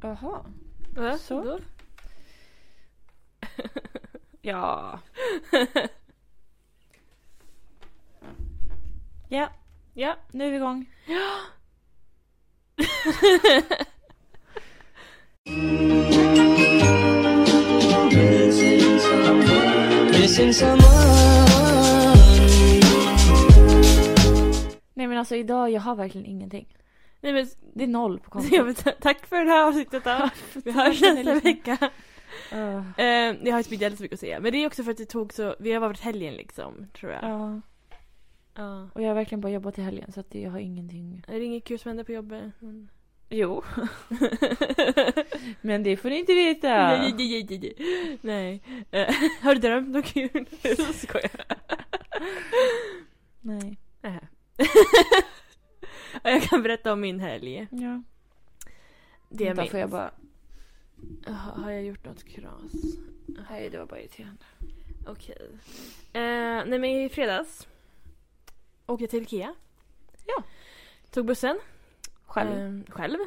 Jaha. Ja, Så. Då. Ja. ja. Ja, nu är vi igång. Missing someone. Nej men alltså idag, jag har verkligen ingenting. Nej men, Det är noll på kontot. jag vill ta- tack för det här avsnittet då. Vi hörs nästa vecka. Uh, Eh, jag har inte så jättemycket att säga. Men det är också för att det tog så, vi har varit helgen liksom tror jag. ja. Ja. Och jag har verkligen bara jobbat i helgen så att jag har ingenting. Är det inget kul som händer på jobbet? Mm. Jo. men det får ni inte veta. Nej, nej, nej, nej, nej. nej. Eh, har du drömt något kul? Så skojar Nej. jag. Eh. Ja, jag kan berätta om min helg. Ja. Det jag Vänta, minns. får jag bara... Ha- Har jag gjort något kras? Nej, det var bara irriterande. Okej. Eh, nej men i fredags åkte jag till Ikea. Ja. Tog bussen. Själv. Ehm, själv.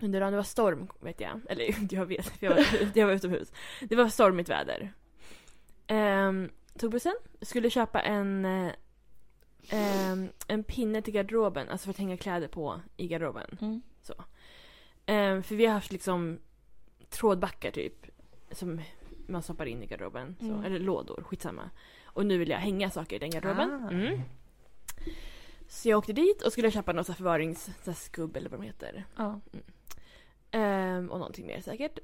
Under dagen, det var storm vet jag. Eller jag vet, för jag var, jag var utomhus. Det var stormigt väder. Ehm, tog bussen, skulle köpa en, eh, ehm, en pinne till garderoben, alltså för att hänga kläder på i garderoben. Mm. Ehm, för vi har haft liksom trådbackar typ. Som man stoppar in i garderoben. Så, Mm. Eller lådor, skitsamma. Och nu vill jag hänga saker i den garderoben. Ah. Mm. Så jag åkte dit och skulle köpa någon så här förvarings... Så här skubb eller vad de heter. Ja. Ehm, och någonting mer säkert.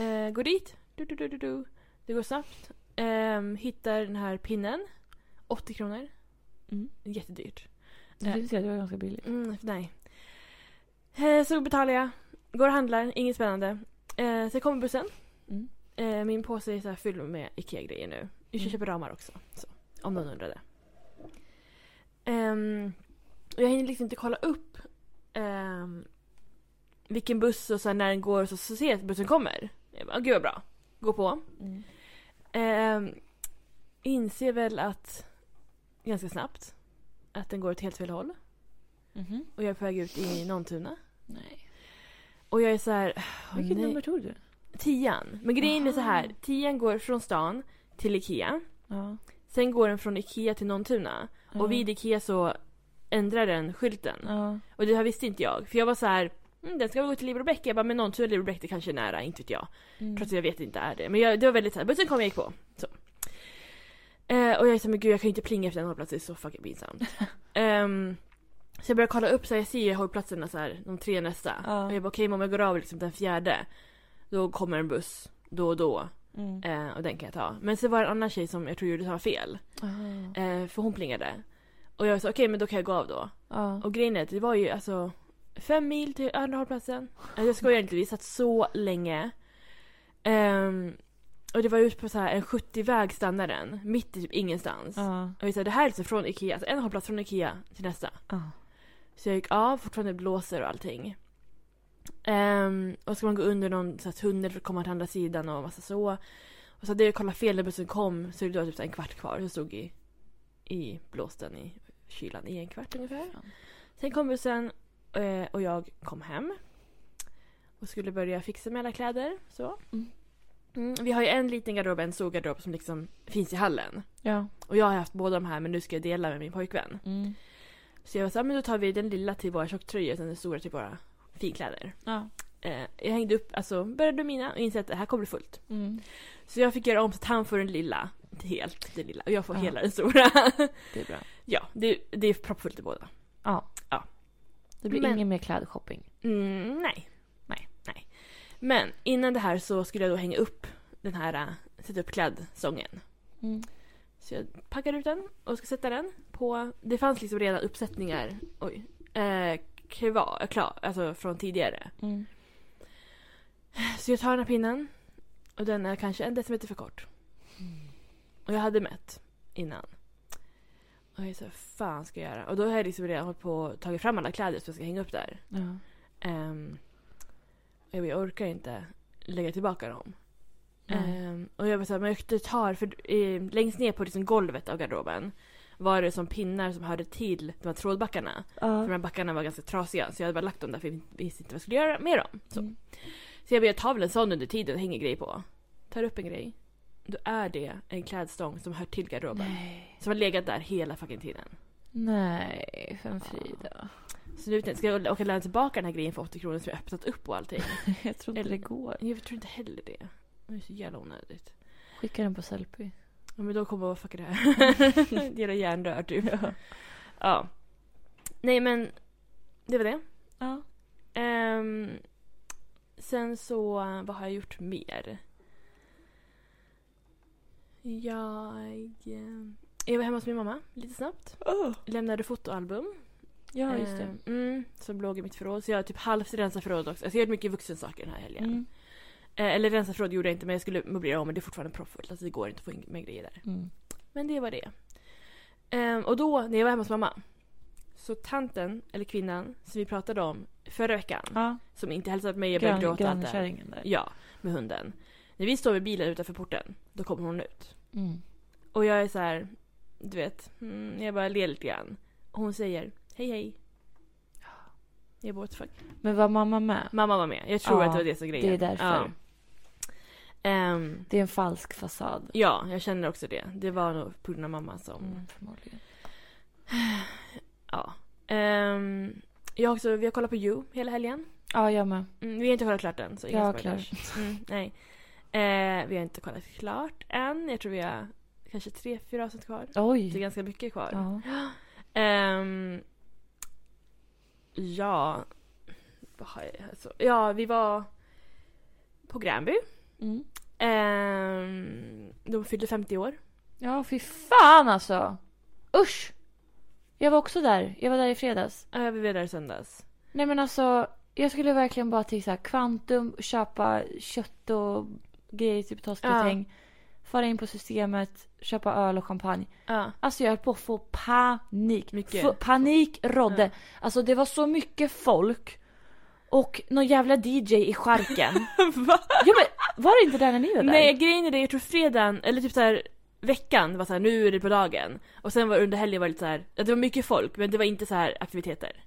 Uh, går dit. Du, du, du, du, du. Det går snabbt. Ehm, hittar den här pinnen. 80 kronor. Mm. Jättedyrt. Det vill säga att det var ganska billigt. Mm, nej. Eh, så betalar jag. Går och handlar. Inget spännande. Eh, sen kommer bussen. Mm. Eh, min påse är så här fylld med IKEA-grejer nu. Jag Mm. köper ramar också. Så, om någon undrade. Ehm, och jag hinner liksom inte kolla upp ehm, vilken buss och så här, när den går och så, så ser jag att bussen kommer. Jag bara, gud vad bra. Gå på. Mm. Ehm, inser väl att ganska snabbt att den går åt helt fel håll. Mhm. Och jag är på väg ut i Nåntuna. Nej. Och jag är så här... "Åh, Vilket nej." nummer tog du? Tian. Men grejen är så Aha. här. Tian går från stan till Ikea. Ja. Sen går den från Ikea till Nåntuna. Ja. Och vid Ikea så ändrar den skylten. Mm. Ja. Och det här visste inte jag. För jag var så här... Mm, den ska väl gå till Librobäck. Jag bara, men Nåntuna och Librobäck det kanske är nära. Inte vet jag. Mm. Trots att jag vet inte är det. Men jag, det var väldigt så här, bussen kom jag gick på. Så. Eh, och jag är så här, men gud jag kan ju inte plinga efter en hållplats, det är så fucking pinsamt. Ehm, så jag börjar kolla upp, så här, jag ser ju hållplatserna så här, de tre nästa. Ja. Och jag bara okej men om jag går av liksom, den fjärde, då kommer en buss då och då. Mm. Eh, och den kan jag ta. Men så var det en annan tjej som jag tror gjorde samma fel. Aha. Eh, för hon plingade. Och jag sa okej men då kan jag gå av då. Ja. Och grejen är att det var ju alltså fem mil till andra hållplatsen. Alltså, jag skojar inte, vi satt så länge. Ehm, och det var ute på så här en 70-väg stannade den, mitt i typ ingenstans. Ja. Och vi sa det här är alltså från Ikea, alltså en hållplats från Ikea till nästa. Ja. Så jag gick av, fortfarande blåser och allting. Ehm, och ska man gå under någon så här, tunnel för att komma till andra sidan och massa så. Och så hade jag kollat fel när bussen kom så det var typ så här en kvart kvar. Så jag stod i, i blåsten i kylan i en kvart ungefär. Fan. Sen kom bussen eh, och jag kom hem. Och skulle börja fixa med alla kläder. Så. Mm. Mm, vi har ju en liten garderob en stor garderob som liksom finns i hallen. Ja. Och jag har haft båda de här men nu ska jag dela med min pojkvän. Mm. Så jag sa men då tar vi den lilla till våra tjocktröjor och sen den stora till våra finkläder. Ja. Eh, jag hängde upp, alltså började med mina och insåg att det här kommer bli fullt. Mm. Så jag fick göra om så att han får den lilla, helt den lilla, och jag får Ja. hela den stora. Det är bra. ja, det, det är proppfullt i båda. Ja. Ja. Det blir Men- ingen mer klädshopping. Mm, nej. Nej, nej. Men innan det här så skulle jag då hänga upp den här äh, sätta upp klädsången. Mm. Så jag packar ut den och ska sätta den på... Det fanns liksom redan uppsättningar oj, eh, kvar, klar, alltså från tidigare. Mm. Så jag tar den här pinnen och den är kanske en decimeter för kort. Och jag hade mätt innan. Och jag sa, fan ska jag göra? Och då har jag liksom redan hållit på och tagit fram alla kläder som jag ska hänga upp där. Ja. Ehm, och jag, bara, jag orkar inte lägga tillbaka dem. Nej. Äh, Ehm, och jag var såhär, men jag tar, för eh, längst ner på liksom golvet av garderoben var det som pinnar som hörde till de här trådbackarna. För de Ja. här backarna var ganska trasiga så jag hade bara lagt dem där för jag visste inte vad jag skulle göra med dem. Så, Mm. så jag började ta väl en sån under tiden och hänger grejer på. Tar upp en grej. Då är det en klädstång som hör till garderoben. Nej. Som har legat där hela fucking tiden. Nej, för en Frida. Så nu vet jag inte, ska jag åka och lämna tillbaka den här grejen för 80 kronor som jag öppnat upp och allting? Jag tror inte det går. Jag tror inte heller det. Det är så jävla onödigt. Skicka den på Sellpy. Ja men då kommer jag bara fuck det här. Dela järnrör typ. Ja. Nej men, det var det. Ja. Ehm, sen så, vad har jag gjort mer? Jag... eh, Jag var hemma hos min mamma lite snabbt. Lämnade fotoalbum. Ja, just det. Ehm, mm, som låg i mitt förråd. Så jag har typ halvt rensat förrådet också. Alltså jag har gjort mycket vuxensaker den här helgen. Mm. Eh, eller rensa förråd gjorde jag inte men jag skulle möblera om men det är fortfarande proppfullt. Alltså det går inte att få in med grejer där. Mm. Men det var det. Ehm, och då, när jag var hemma hos mamma, så tanten, eller kvinnan, som vi pratade om förra veckan, Ja, som inte hälsat på mig, jag började grann- gråta allt det här. grannkärringen där. Ja, med hunden. När vi står vid bilen utanför porten, då kommer hon ut. Mm. Och jag är så här, du vet, mm, jag bara ler lite grann. Och hon säger, hej hej. Jag bara, what the fuck. Men var mamma med? Mamma var med, jag tror Ja, att det var det som grejen. det är därför. Ja. Ehm, Det är en falsk fasad. ja, jag känner också det. Det var nog på grund av mamma som... Mm, förmodligen. Ja. Ehm, jag har också, vi har kollat på You hela helgen. Ja, jag med. Mm, vi har inte kollat klart än. Så inga Jag är spoilers. Mm, nej. Eh, vi har inte kollat klart än. Jag tror vi har kanske tre, fyra avsnitt kvar. Det är Oj. ganska mycket kvar. Ja. Ja. ja. Vad har jag, alltså, ja, vi var på Gränby. Mm. Ehm, de fyllde 50 år. ja, fy fan alltså. Usch. Jag var också där. Jag var där i fredags. Ja, vi var där i söndags. Nej men alltså. Jag skulle verkligen bara till så här Kvantum köpa kött och grejer, typ torskgratäng. Fara in på systemet, köpa öl och champagne. Ja. Alltså jag höll på att få panik. Mycket. F- panik rådde. Ja. Alltså det var så mycket folk. Och någon jävla DJ i charken. Va? ja men var det inte där när ni var där? Nej grejen är det, jag tror fredagen, eller typ så här veckan var så här, nu är det på dagen. Och sen var under helgen var det lite så här, att det var mycket folk men det var inte så här aktiviteter.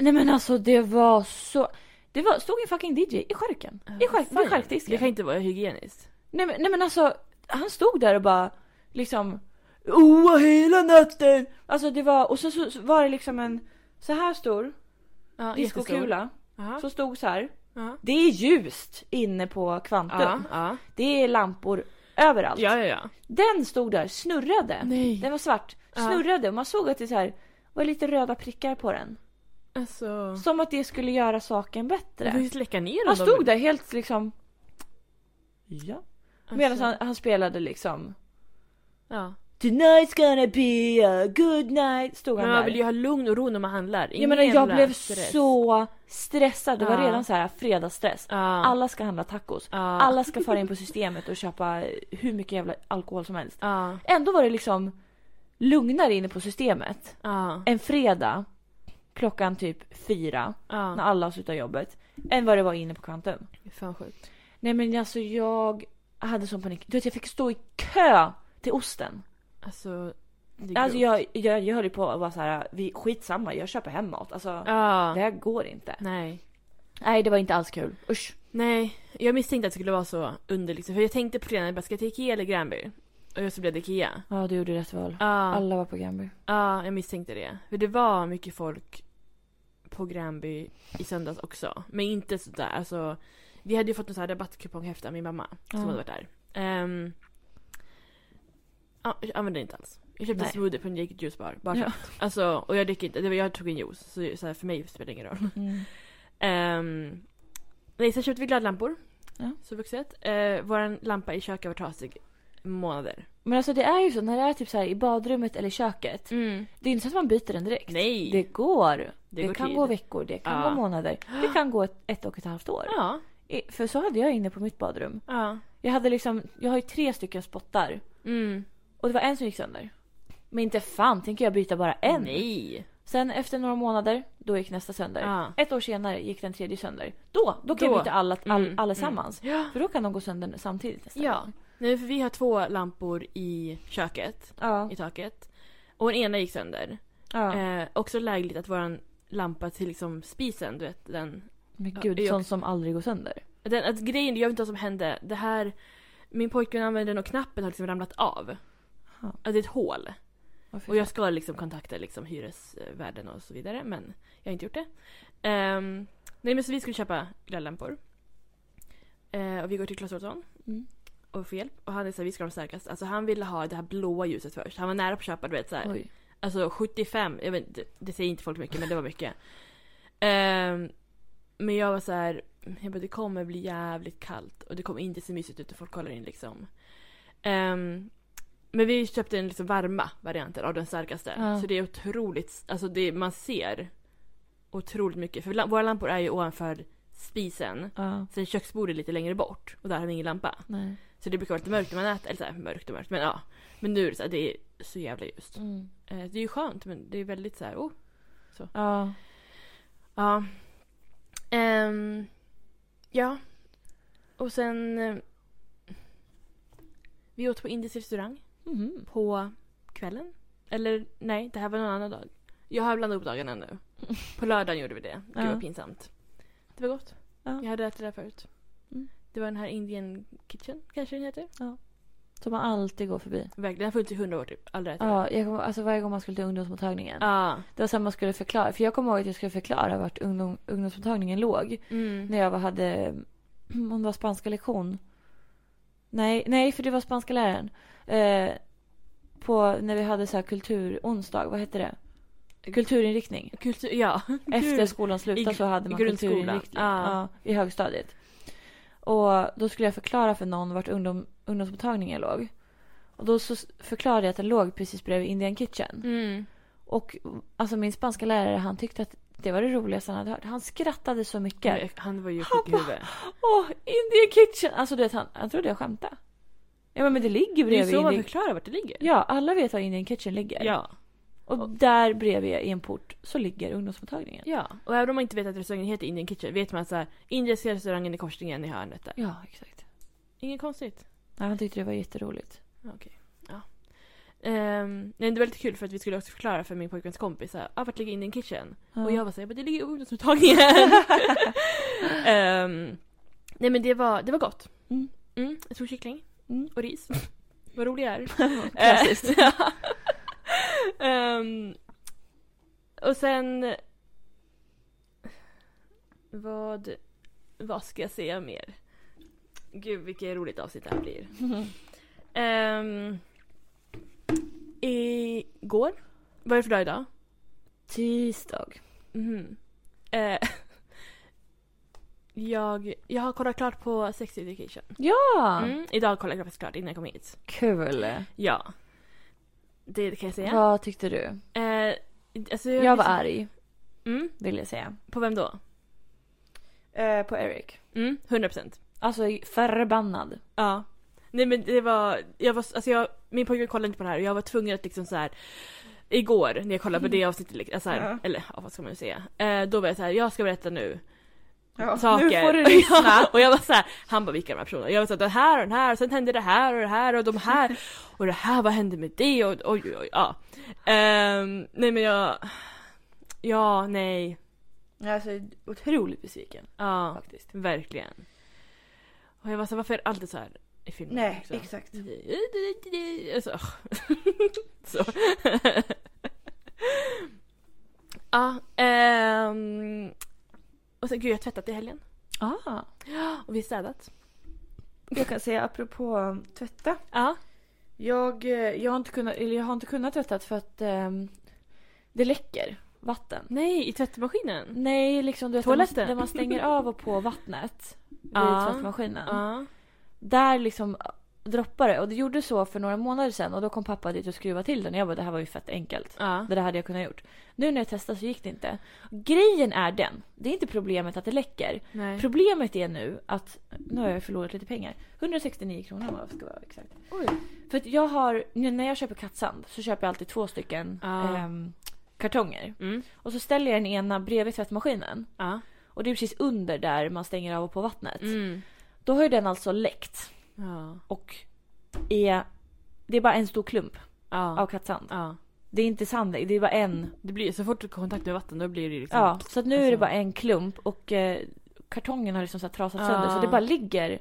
Nej men alltså det var så... Det var, stod en fucking DJ i skärken. I skärk, vid Det skärkdisken. kan inte vara hygieniskt. Nej, men, nej men alltså, han stod där och bara liksom... Oa hela natten! Alltså det var, och så, så, så var det liksom en så här stor Ja, diskokula Ja. som stod så här. Ja. Det är ljust inne på Kvantum. Ja, ja. Det är lampor överallt. ja, ja. Den stod där, snurrade. Nej. Den var svart, Ja. snurrade och man såg att det så här var lite röda prickar på den. Alltså. Som att det skulle göra saken bättre. Du får ju släcka ner Han dem. stod där helt liksom... Ja. Alltså, Medan han, han spelade liksom... Ja. Tonight's gonna be a good night. Stod han Men man vill ju där. ha lugn och ro när man handlar. Jag menar jag jävla blev stress. så stressad. Det var Ja. redan så här fredagsstress. Ja. Alla ska handla tacos. Ja. Alla ska fara in på systemet och köpa hur mycket jävla alkohol som helst. Ja. Ändå var det liksom lugnare inne på systemet. Ja. En fredag klockan typ fyra när Ja. alla har slutat jobbet. Än vad det var inne på Kvantum. Fan sjukt. Nej men alltså jag hade sån panik. Du vet jag fick stå i kö till osten. Alltså. Det är Alltså grovt. jag, jag, jag höll ju på att vara såhär, vi, skitsamma jag köper hem mat. Alltså det Ja. här går inte. Nej. Nej det var inte alls kul. Usch. Nej, jag misstänkte att det skulle vara så under liksom. För jag tänkte på det när jag bara, ska jag till Ikea eller Gränby? Och så blev det Ikea. Ja du gjorde rätt val. Ja, Alla var på Gränby. ja, jag misstänkte det. För det var mycket folk på Gränby i söndags också. Men inte sådär, alltså. Vi hade ju fått en sån här rabattkuponghäfte av min mamma Ja. som hade varit där. Ehm, ja, jag använde det inte alls. Jag köpte Nej. smoothie på en Jacob Juice bar. bara Ja. ja. alltså, och jag dricker inte, det var, jag tog en juice. Så, så här, för mig spelar det ingen roll. Mm. Ehm, nej, sen köpte vi glödlampor. Ja. Så vuxet. Eh, Vår lampa i köket var trasig månader. Men alltså det är ju så när det är typ så här i badrummet eller köket. Det är inte så att man byter den direkt. Nej, Det det, går. Mm. Det, går kan tid. gå veckor, det kan Ja. gå månader. Det kan gå ett, ett och ett halvt år. Ja, I- För så hade jag inne på mitt badrum. ja. Jag hade liksom, jag har ju tre stycken spottar. Mm. Och det var en som gick sönder. Men inte fan tänker jag byta bara en. Nej. Sen efter några månader, då gick nästa sönder. Ja. Ett år senare gick den tredje sönder. Då, då kan Då. jag byta alla, all, Mm, allesammans. Ja. För då kan de gå sönder samtidigt nästa Ja. gång. Nej, för vi har två lampor i köket, Ja. i taket. Och den ena gick sönder. Ja. Eh, också lägligt att våran lampa till liksom spisen, du vet den Men ja, gud, jag- sånt som aldrig går sönder. Den, att grejen, jag vet inte vad som hände. Det här, min pojkvän använde den och knappen har liksom ramlat av. Jaha. Att det är ett hål. Åh, fy Och jag fan. ska liksom kontakta liksom hyresvärden och så vidare men jag har inte gjort det. Ehm, nej men så vi skulle köpa glödlampor. Eh, och vi går till Clas Ohlson Mm. och får hjälp. Och han är såhär, vi ska ha de starkaste. Alltså han ville ha det här blåa ljuset först. Han var nära på att köpa du vet såhär. Oj. Alltså 75, jag vet, det- det säger inte folk mycket men det var mycket. Ehm, men jag var så här, jag bara, det kommer bli jävligt kallt och det kommer inte se mysigt ut och folk kollar in liksom. Ehm, men vi köpte den liksom varma varianten av den starkaste. Ja. Så det är otroligt, alltså det, man ser otroligt mycket. För la- våra lampor är ju ovanför spisen. Ja. Sen köksbordet är lite längre bort och där har vi ingen lampa. Nej. Så det brukar vara lite mörkt när man äter. Eller så här, mörkt och mörkt men ja. Men nu är det så här, det är så jävla ljust. Mm. Eh, Det är ju skönt men det är väldigt så här, oh. Ja. Ja. Ehm, ja. Och sen... eh, Vi åt på indisk restaurang Mhm. på kvällen. Eller nej, det här var någon annan dag. Jag har blandat ihop dagarna nu. På lördagen gjorde vi det. Gud Ja. vad pinsamt. Det var gott. Ja. Jag hade ätit det där förut. Mm. Det var den här Indian Kitchen kanske den heter. Som man alltid går förbi. Verkligen, den har funnits i hundra år typ. Aldrig ätit den. Ja, jag kommer, alltså varje gång man skulle till ungdomsmottagningen. Ja. Det var så här man skulle förklara. För jag kommer ihåg att jag skulle förklara vart ungdom, ungdomsmottagningen låg. Mm. När jag var- hade, om det var spanska lektion. Nej, nej för det var spanska läraren. Eh, på, när vi hade så här kulturonsdag, vad hette det? Kulturinriktning. Kultur, ja. Efter skolan slutade I- så hade i man grundskolan. Ah. kulturinriktning. Ja. Ja, I högstadiet. Och då skulle jag förklara för någon vart ungdom, ungdomsmottagningen låg. Och då så s- förklarade jag att den låg precis bredvid Indian Kitchen. Mm. Och alltså min spanska lärare han tyckte att det var det roligaste han hade hört. Han skrattade så mycket. Han var ju Han sjuk i huvudet. Åh, Indian kitchen! Alltså du vet han, han trodde jag skämtade. Ja men, men det ligger Det är bredvid så man Indian... förklarar vart det ligger. Ja, alla vet var Indian kitchen ligger. Ja. Och där bredvid i en port så ligger ungdomsmottagningen. ja. Och även om man inte vet att restaurangen heter Indian Kitchen vet man att så här, indiska restaurangen i korsningen i hörnet där. Ja, exakt. Inget konstigt. Ja, han tyckte det var jätteroligt. Um, nej, det var lite kul för att vi skulle också förklara för min pojkväns kompis så här, ah, vart ligger Indian Kitchen? Ja. Och jag var såhär, det ligger i ungdomsmottagningen. Ehm, nej men det var, det var gott. Mm. Mm, jag tog kyckling Mm. och ris. Vad rolig jag är. Klassiskt. Eh, ja. Ehm, och sen... Vad, vad ska jag säga mer? Gud vilket roligt avsnitt det här blir. Ehm, igår, vad är det för dag idag? Tisdag. Mhm. Eh, jag, jag har kollat klart på Sex Education. Ja! Mm, idag kollade jag faktiskt klart innan jag kom hit. Ah, Kul! Ja. Det kan jag säga. Vad tyckte du? Eh, alltså, Jag var arg, Mm, vill jag säga. på vem då? Eh, på Eric. Mm, 100%. Alltså förbannad. Ja. Nej men det var, jag var, alltså jag, min pojke kollade inte på det här och jag var tvungen att liksom så här. Igår när jag kollade på det avsnittet, liksom, alltså, här, Mm. Ja. eller ja, vad ska man nu säga. Eh, då var jag så här, jag ska berätta nu Saker. saker. Nu får du lyssna. Ja, och jag var så här, han bara vilka är de här personerna? Jag var så här, den här och den här och sen hände det här och det här och de här och det här, vad hände med det? Och, oj oj oj, ja. Ehm, nej men jag, ja nej, Alltså otroligt besviken ja faktiskt. verkligen. Och jag var så här, varför är det alltid så här i filmen? också? exakt. Alltså, ah. så. ja, ehm. och sen gud jag har tvättat i helgen Ah, och vi har städat. jag kan säga apropå um, tvätta. Ja. Jag, eh, jag, har, inte kunnat, eller jag har inte kunnat tvätta för att ehm, det läcker vatten. Nej, i tvättmaskinen? Nej, liksom du vet Toaletten? Där, man, där man stänger av och på vattnet vid Ja. tvättmaskinen. Ja. Där liksom droppar det. Och det gjorde så för några månader sedan och då kom pappa dit och skruvade till den. Och jag bara det här var ju fett enkelt. ja. Det där hade jag kunnat gjort. Nu när jag testade så gick det inte. Grejen är den. Det är inte problemet att det läcker. Nej. Problemet är nu att, nu har jag förlorat lite pengar. 169 kronor om jag ska vara exakt. För att jag har, nu när jag köper kattsand så köper jag alltid två stycken Ja. ehm, kartonger. Mm. Och så ställer jag den ena bredvid tvättmaskinen. Ja. Och det är precis under där man stänger av och på vattnet. Mm. Då har ju den alltså läckt. Ja. Och är, det är bara en stor klump Ja. av kattsand. Ja. Det är inte sanddäck, det är bara en. Det blir, så fort du får kontakt med vatten då blir det liksom... Ja, så att nu är det Alltså- bara en klump och eh, kartongen har liksom så här trasat sönder. Så Ah. det bara ligger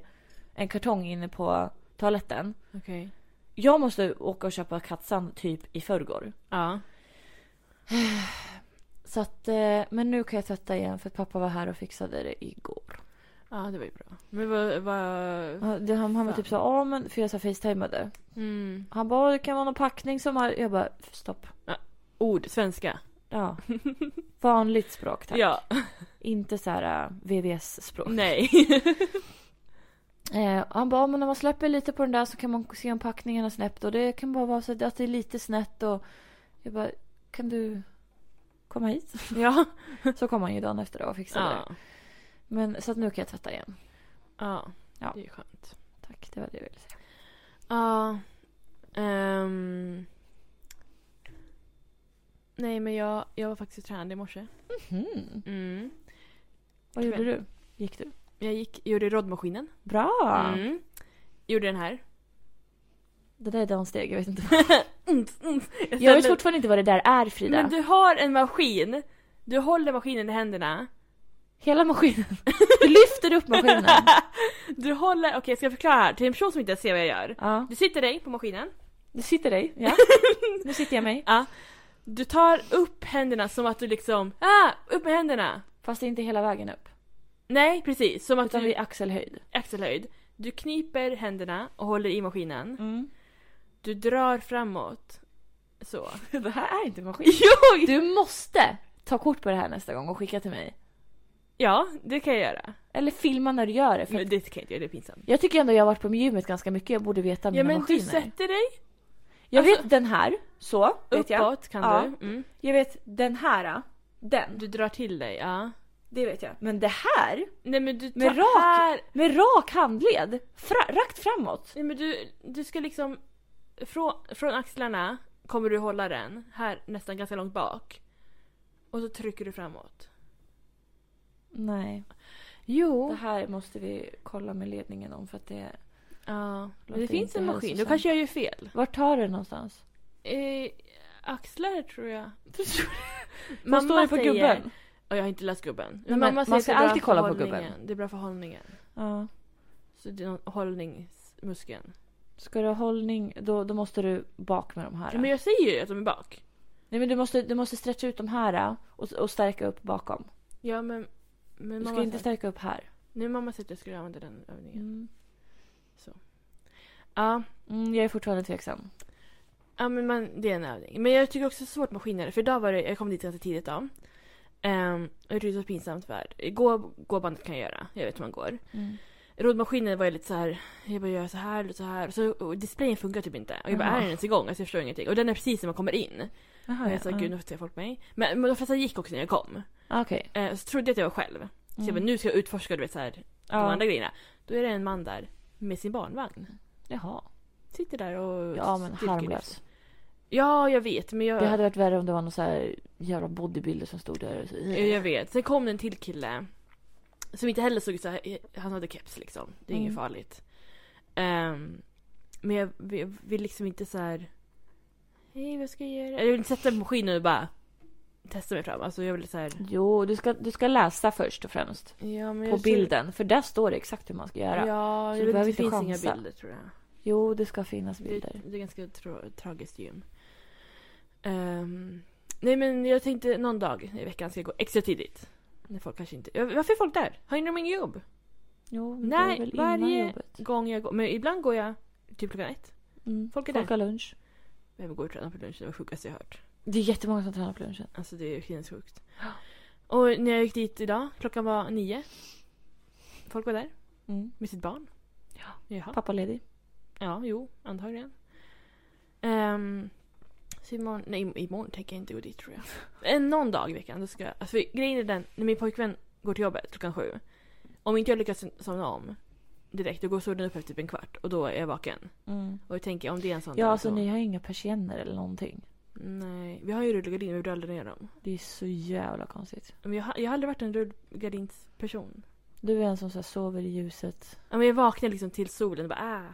en kartong inne på toaletten. Okej. Jag måste åka och köpa kattsand typ i förrgår. Ja. Så att, eh, men nu kan jag tvätta igen för att pappa var här och fixade det igår. Ja, det var ju bra. Men vad... vad... Ja, det- Han, han var Fan. typ så ja men, för jag så här facetimade. Mm. Han bara, det kan vara någon packning som har... Jag bara, stopp. Ord, svenska. Ja. Vanligt språk tack. Ja. Inte så här eh, VVS-språk. Nej. Eh, han bara, men när man släpper lite på den där så kan man se om packningen är snett och det kan bara vara så att det är lite snett och jag bara, kan du komma hit? ja. Så kom han ju dagen efter och fixade det. Ja. Men så att nu kan jag tvätta igen. ja. Ja. Det är ju skönt. Tack, det var det jag ville säga. Ja. Ehm. Nej men jag, jag var faktiskt och tränade i morse. Mhm. Mm. Vad gjorde Kväll. du? Gick du? Jag gick, gjorde roddmaskinen. Bra! Mm. Gjorde den här. Det där är danssteg, jag vet inte. Jag Jag vet ställde- fortfarande inte vad det där är Frida. Men du har en maskin. Du håller maskinen i händerna. Hela maskinen. Du lyfter upp maskinen. Du håller, okej jag ska förklara här till en person som inte ser vad jag gör. Ja. Du sitter dig på maskinen. Du sitter dig. Ja. Nu sitter jag mig. Du tar upp händerna som att du liksom, ah! Upp med händerna! Fast inte hela vägen upp. Nej precis, som att Utan du vid axelhöjd. axelhöjd. Du kniper händerna och håller i maskinen. Du drar framåt. Så. Det här är inte maskin. Jo! Du måste ta kort på det här nästa gång och skicka till mig. Ja, det kan jag göra. Eller filma när du gör det. För Men att det kan jag inte göra, det är pinsamt. jag tycker ändå jag har varit på gymmet ganska mycket. Jag borde veta mina Ja men du maskiner. sätter dig Jag alltså- vet den här. Så. Vet jag. uppåt kan Ja. du. Mm. jag vet den här. Den. Du drar till dig, ja. Det vet jag. Men det här. Nej men du tar Med rak- här. Med rak handled. Fra- rakt framåt. Nej men du, du ska liksom... Från, från axlarna kommer du hålla den här nästan ganska långt bak. Och så trycker du framåt. Nej. Det Jo. här måste vi kolla med ledningen om för att det... Ja. Men det Låter finns inte en hälsosamt. maskin. Då kanske jag gör fel. Vart tar det någonstans? Eh, axlar tror jag. Vad står det på säger- gubben? Och jag har inte läst gubben. Men men man säger att ska det är bra alltid för kolla på hållningen. gubben. Det är bra för hållningen. Ja. Så det är någon hållningsmuskeln. Ska du ha hållning, då, då måste du bak med de här. Men jag säger ju att de är bak. Nej men du måste, du måste stretcha ut de här och, och stärka upp bakom. Ja men... men Du ska mamma inte sa- stärka upp här. Nu mamma sa att jag skulle använda den övningen. Mm. Ja, jag är fortfarande tveksam. ja men man, det är en övning. Men jag tycker också det är svårt med skillnader. För idag var det, jag kom dit ganska tidigt då. Ehm, och jag tyckte det var pinsamt för gå, gåbandet kan jag göra. Jag vet hur man går. Roddmaskinen var ju lite så här. jag bara gör så här och så här. Och så, och displayen funkar typ inte. Och jag bara, Jaha. Ah, är den ens igång? Alltså jag förstår ingenting. Och den är precis när man kommer in. Jaha, Och jag sa, gud nu ser folk mig. Men, men de flesta gick också när jag kom. Ah, Okej. Mm. Eh, så trodde jag att jag var själv. Så jag bara, nu ska jag utforska du vet så här, de Ja. andra grejerna. Då är det en man där med sin barnvagn. Jaha. Sitter där och... Ja men styrker lite. harmlös. Ja, jag vet. Men jag, Det hade varit värre om det var någon så här jävla bodybuilder som stod där och så. jag vet. Sen kom det en till kille. Som inte heller såg ut så här. Han hade keps liksom. Det är inget Mm. farligt. Ehm, men jag vill, jag vill liksom inte så här. Hej, vad ska jag göra? Jag vill inte sätta mig på maskinen och bara testa mig fram. Alltså jag vill så här. Jo, du ska, du ska läsa först och främst. Ja, men På bilden. För där står det exakt hur man ska göra. Ja, Så jag du vet, behöver det inte finns chansa. inga bilder tror jag. Jo, det ska finnas Det, bilder. det är ganska tra- tragiskt gym. Ehm, nej men jag tänkte någon dag i veckan ska jag gå extra tidigt. När folk kanske inte... Ja, Varför är folk där? Har inte de inget jobb? Jo, men det är Nej, väl varje- innan jobbet. Gång jag går, men ibland går jag typ klockan ett. Mm. Folk är Folk där. har lunch. Behöver gå och träna på lunch, det var det sjukaste jag hört. Det är jättemånga som tränar på lunchen. Alltså det är sinnessjukt. Och när jag gick dit idag, klockan var nio. Folk var där Mm. med sitt barn. Ja. Jaha. Pappaledig. Ja, jo, antagligen. Um, så imorgon, nej imorgon tänker jag inte gå dit tror jag. Men Någon dag i veckan, då ska jag, alltså, för grejen är den, när min pojkvän går till jobbet klockan sju. Om inte jag lyckas somna om direkt, då går solen upp efter typ en kvart och då är jag vaken. Och jag tänker om det är en sån Ja, dag alltså Mm. så- ni har inga persienner eller någonting. Nej, vi har ju rullgardin men vi drar aldrig ner dem. Det är så jävla konstigt. Men jag, har- jag har aldrig varit en rullgardinsperson. Du är en som så här sover i ljuset. Ja, men jag vaknar liksom till solen och bara ah.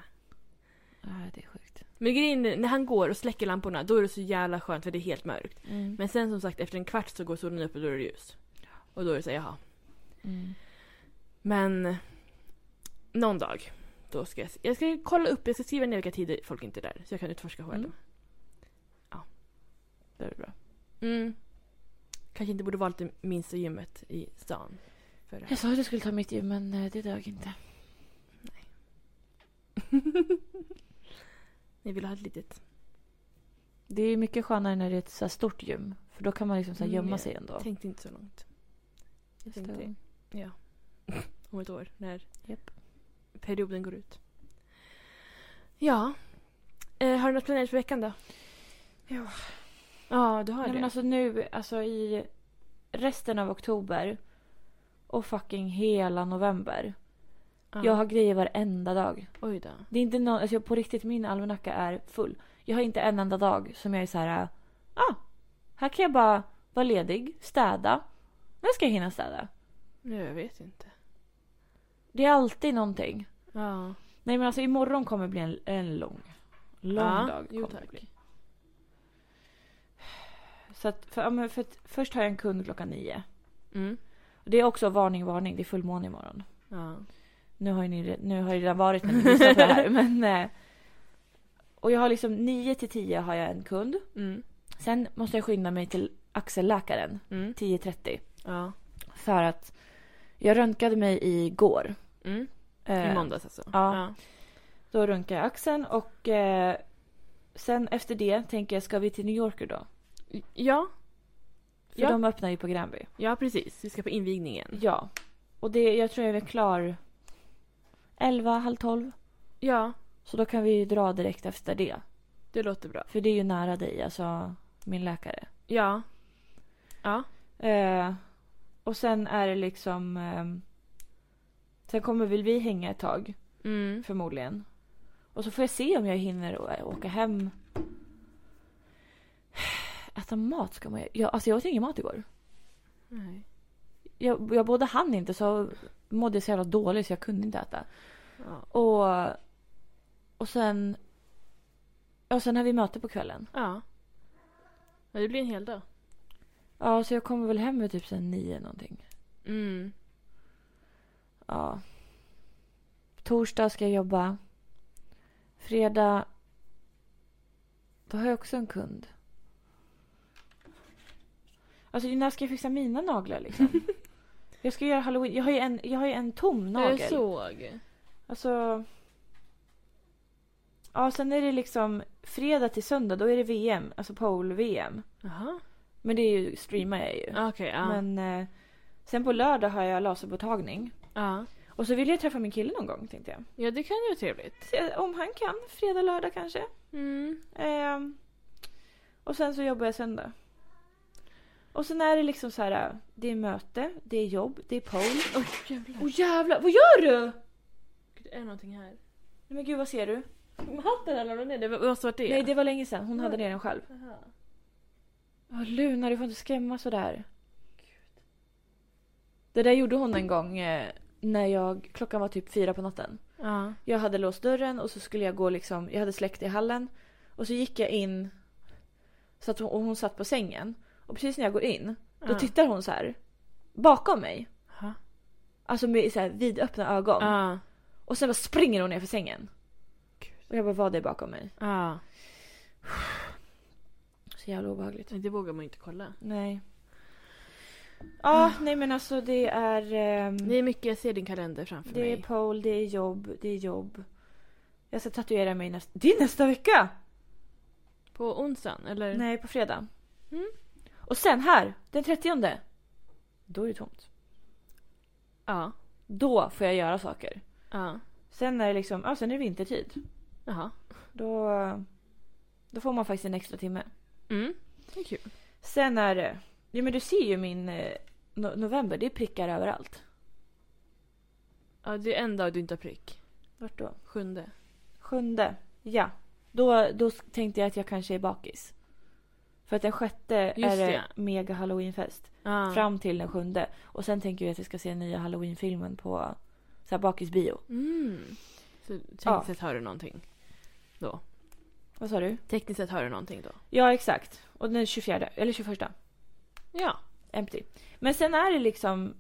Ja, det är sjukt. Men grejen är, när han går och släcker lamporna då är det så jävla skönt för det är helt mörkt. Mm. Men sen som sagt efter en kvart så går solen upp och då är det ljus. Och då är det så här, jaha. Mm. Men eh, någon dag. Då ska jag, s- jag ska kolla upp, jag ska skriva ner vilka tider folk inte är där. Så jag kan utforska själv. Mm. Ja. Det är bra. Mm. Kanske inte borde valt det minsta gymmet i stan. För det. här. Jag sa att du skulle ta mitt gym, men eh, det dög inte. Ni vill ha ett litet. Det är ju mycket skönare när det är ett så här stort gym. För då kan man liksom så här Mm, gömma jag sig ändå. Tänkte inte så långt. Jag Just det. tänkte ja. om ett år när Japp. perioden går ut. Ja. Eh, har du något planerat för veckan då? Ja. Ja, du har Nej, det. men alltså nu, alltså i resten av oktober och fucking hela november. ja. Jag har grejer varenda dag. Oj då. Det är inte någon, alltså jag, på riktigt, min almanacka är full. Jag har inte en enda dag som jag är så här, ah, här kan jag bara vara ledig, städa. När ska jag hinna städa? Nej, Jag vet inte. Det är alltid någonting. Ja. Nej men alltså imorgon kommer bli en, en lång, lång ja. dag. Jo, kommer det tack. bli. Så att, för, ja, men för, att först har jag en kund klockan nio. Mm. Det är också varning, varning. Det är fullmåne imorgon. Ja. Nu har, ju ni, re- nu har det redan varit när ni lyssnar på det här. Men, eh, och jag har liksom 9 till 10 har jag en kund. Mm. Sen måste jag skynda mig till axelläkaren Mm. 10.30. Ja. För att jag röntgade mig igår. Mm. Eh, I måndags alltså? ja. Då röntgade jag axeln och eh, sen efter det tänker jag ska vi till New Yorker då? Ja. Ja, För Ja. Mm. de öppnar ju på Gränby. ja precis. Vi ska på invigningen. Ja. Och det, jag tror jag är klar 11, halv 12. Ja, Så då kan vi ju dra direkt efter det. det låter bra. För det är ju nära dig, alltså min läkare. Ja. Ja. Eh, och sen är det liksom... ehm, sen kommer väl vi hänga ett tag, Mm. förmodligen. Och så får jag se om jag hinner å- åka hem. Äta mat ska man ju... Jag, alltså jag åt ingen mat igår. Nej. Jag, jag både hann inte så mådde jag så jävla dåligt så jag kunde inte äta. Ja. Och, och sen... Och sen har vi möte på kvällen. ja. Ja, det blir en hel dag. Ja, så jag kommer väl hem vid typ sen nio någonting. Mm. Ja. Torsdag ska jag jobba. Fredag. Då har jag också en kund. Alltså när ska jag fixa mina naglar liksom? jag ska göra halloween. Jag har ju en, jag har ju en tom nagel. Jag såg. Alltså. Ja, sen är det liksom fredag till söndag. Då är det VM. Alltså pole-VM. Jaha. Men det är ju, streamar jag ju. Okej, ja. Men eh, sen på lördag har jag laserpåtagning. ja. Och så vill jag träffa min kille någon gång tänkte jag. Ja, det kan ju vara trevligt. Se om han kan. Fredag, lördag kanske. Mm. Ehm, och sen så jobbar jag söndag. Och sen är det liksom så här. Det är möte, det är jobb, det är poll. Oj, jävlar. Åh jävlar, vad gör du? det är någonting här. Nej men gud vad ser du? Hatten eller vad det är? Det var, vad var det? Nej det var länge sedan, hon hade ner den själv. Jaha. Åh, Luna du får inte skrämma sådär. Det där gjorde hon en gång eh, när jag, klockan var typ fyra på natten. Ja. Jag hade låst dörren och så skulle jag gå liksom, jag hade släckt i hallen. Och så gick jag in. Så att hon, och hon satt på sängen. Och precis när jag går in, då ja. tittar hon så här. Bakom mig. Ja. Alltså med så här vidöppna ögon. Ja. Och sen bara springer hon ner för sängen. Gud. Och jag bara, vad är bakom mig? Ja. Så jävla obehagligt. Det vågar man ju inte kolla. Nej. Ja, nej men alltså det är... ehm, Ah. Det är mycket, jag ser din kalender framför det är mig. pole, det är jobb, det är jobb. Jag ska tatuera mig nästa... Det är nästa vecka! På onsdagen, eller? Nej, på fredag. Mm. Och sen här, den 30. Då är det tomt. Ja. Då får jag göra saker. Ja. Sen är det liksom, ja sen är det vintertid. Jaha. Då, då får man faktiskt en extra timme. Mm. Det är kul. Sen är det, ja men du ser ju min eh, no november, det är prickar överallt. Ja, det är en dag du inte har prick. Vart då? Sjunde. Sjunde, ja. Då, då s- tänkte jag att jag kanske är bakis. För att den sjätte Just är det det. mega halloweenfest. Ja. Fram till den sjunde. Och sen tänker jag att jag ska se nya halloweenfilmen på så här, bakisbio. Mm. Så Ja. tänk ja. att har du någonting. då. Vad sa du? Tekniskt sett har du någonting då. Ja, exakt. Och den 24, eller 21. Ja. Empty. Men sen är det liksom